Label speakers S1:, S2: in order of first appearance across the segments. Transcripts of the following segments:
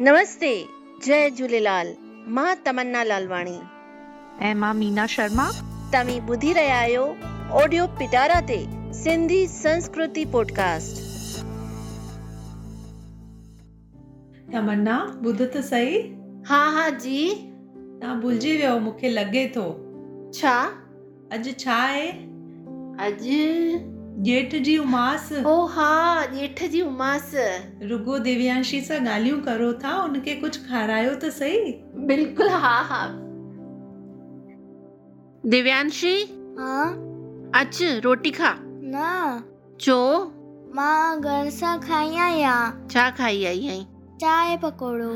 S1: नमस्ते जय झूलेलाल मां तमन्ना लालवाणी
S2: ऐं मां मीना शर्मा
S1: तव्हीं ॿुधी रहिया आहियो ऑडियो पिटारा ते सिंधी संस्कृति पॉडकास्ट
S3: तमन्ना ॿुध त सही
S1: हा हा जी
S3: तव्हां भुलिजी वियो मूंखे लॻे थो
S1: छा
S3: अॼु छा आहे
S1: अॼु
S3: ॼेठ जी उमास
S1: ओ हा ॼेठ जी उमास
S3: रुगो देवयांशी सां ॻाल्हियूं करो था उनखे कुझु खारायो त सही
S1: बिल्कुलु हा हा
S4: दिव्यांशी
S5: हाँ
S4: अच रोटी खा
S5: न
S4: जो
S5: मां घर सां खाई आहियां
S4: छा खाई आई आई
S5: चांहि पकोड़ो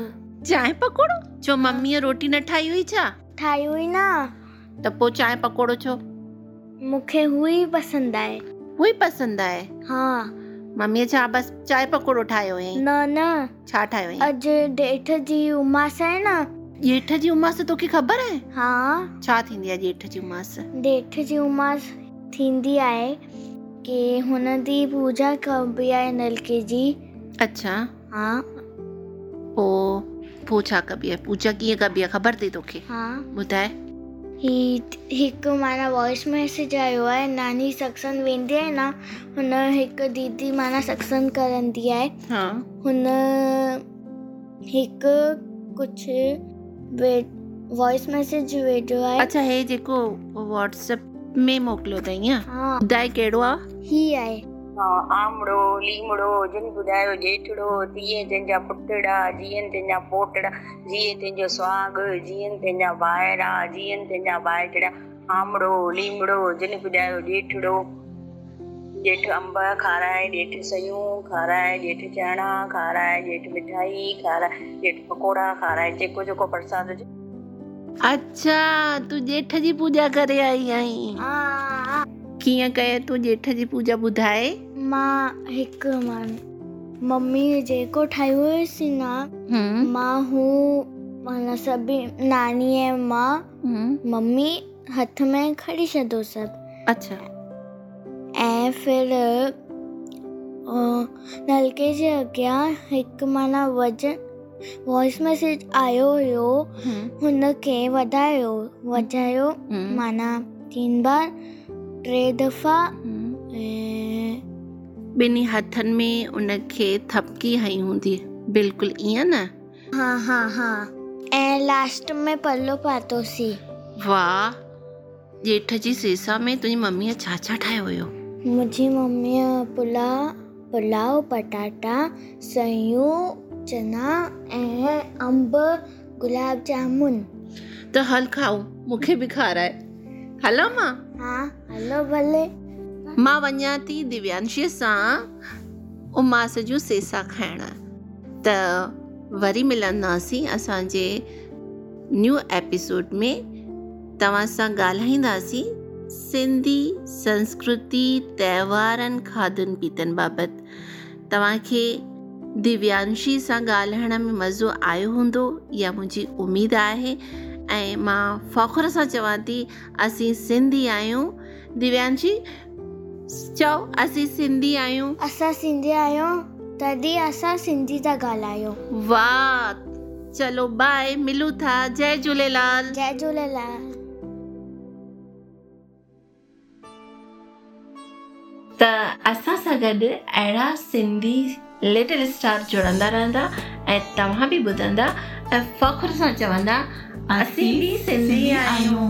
S4: चांहि पकोड़ो जो मम्मीअ रोटी न ठाही हुई छा
S5: ठाही हुई न
S4: त पोइ चांहि पकोड़ो छो
S5: मूंखे हुई पसंदि आहे
S4: उहो ई पसंदि आहे
S5: हा
S4: मम्मीअ छा बसि चांहि पकोड़ो ठाहियो हुयईं
S5: न न
S4: छा ठाहियो हुयईं
S5: अॼु ॾेठ जी उमास आहे न
S4: ॼेठ जी उमास तोखे ख़बर आहे
S5: हा
S4: छा थींदी आहे ॼेठ जी उमास
S5: ॾेठ हाँ, जी उमास थींदी आहे की हुन जी पूजा कबी आहे नलके जी हाँ,
S4: अच्छा
S5: हा
S4: पोइ पोइ छा कबी आहे पूजा कीअं कबी आहे ख़बर अथई तोखे
S5: हा
S4: ॿुधाए
S5: हाँ। ही हिकु माना वॉइस मैसेज आयो आहे नानी सक्सन वेंदी आहे न हुन हिकु दीदी माना सक्सन करंदी आहे
S4: हा
S5: हुन हिकु कुझु वॉइस मैसेज विधो आहे
S4: अच्छा हे जेको व्हाट्सएप में मोकिलियो अथई ईअं
S5: हा
S4: ॿुधाए कहिड़ो आहे
S5: हाँ, ही आहे
S6: आमड़ो लीमड़ो जिन ॿुधायो जेठड़ो तीअं जंहिंजा पुटड़ा जीअन तंहिंजा पोटड़ा जीअं तंहिंजो स्वाग जीअन तंहिंजा ॿाहिरा जीअन तंहिंजा ॿाहिरा आमड़ो लीमड़ो जिन ॿुधायो जेठड़ो जेठ अंब खाराए ॼेठ सयूं खाराए ॼेठ चणा खाराए ॼेठ मिठाई खाराए ॼेठ पकोड़ा खाराए जेको जेको प्रसाद हुजे
S4: अच्छा तूं ॼेठ जी पूॼा करे आई आहीं
S5: हा
S4: कीअं कयो तूं ॼेठ जी पूॼा ॿुधाए
S5: मां हिकु मां मम्मी जेको ठाहियो हुयोसीं न
S4: हम्म,
S5: मां हू माना सभी नानी ऐं मां
S4: हम्म,
S5: मम्मी हथ में खणी छॾो सभु
S4: अच्छा
S5: ऐं फिर अ, नलके जे अॻियां हिकु माना वजन वॉइस मैसेज आयो हुयो
S4: हम्म,
S5: हुनखे वधायो वधायो
S4: हम्म,
S5: माना तीन बार टे दफ़ा
S4: हम्म।
S5: ऐं
S4: ॿिन्ही हथनि में उनखे थपकी हई हूंदी बिल्कुलु ईअं न
S5: हा
S4: हाँ,
S5: हा हा ऐं लास्ट में पलो पातोसीं
S4: वाह ॼेठ जी सेसा में तुंहिंजी मम्मीअ छा छा ठाहियो हुयो
S5: मुंहिंजी मम्मीअ पुला पुलाव पटाटा सयूं चना ऐं अंब गुलाब जामुन
S4: त हल खाऊं मूंखे बि खाराए हलो मां
S5: हा हलो हाँ, भले
S4: मां वञा थी दिव्यांशीअ सां उमास जूं सेसा खाइण त वरी मिलंदासीं असांजे न्यू एपिसोड में तव्हां सां ॻाल्हाईंदासीं सिंधी संस्कृति त्योहारनि खाधनि पीतनि बाबति तव्हांखे दिव्यांशी सां ॻाल्हाइण में मज़ो आयो हूंदो इहा मुंहिंजी उमेद आहे ऐं मां फ़ख़ुर सां चवां थी असीं सिंधी आहियूं दिव्यांशी चओ असीं सिंधी आहियूं
S5: असां सिंधी आहियूं तॾहिं असां सिंधी था ॻाल्हायूं
S4: वाह चलो बाय मिलूं था जय झूलेलाल
S5: जय झूलेलाल
S4: त असां सां गॾु अहिड़ा सिंधी लिटिल स्टार जुड़ंदा रहंदा ऐं तव्हां बि ॿुधंदा ऐं फ़ख्रु सां चवंदा असीं बि सिंधी आहियूं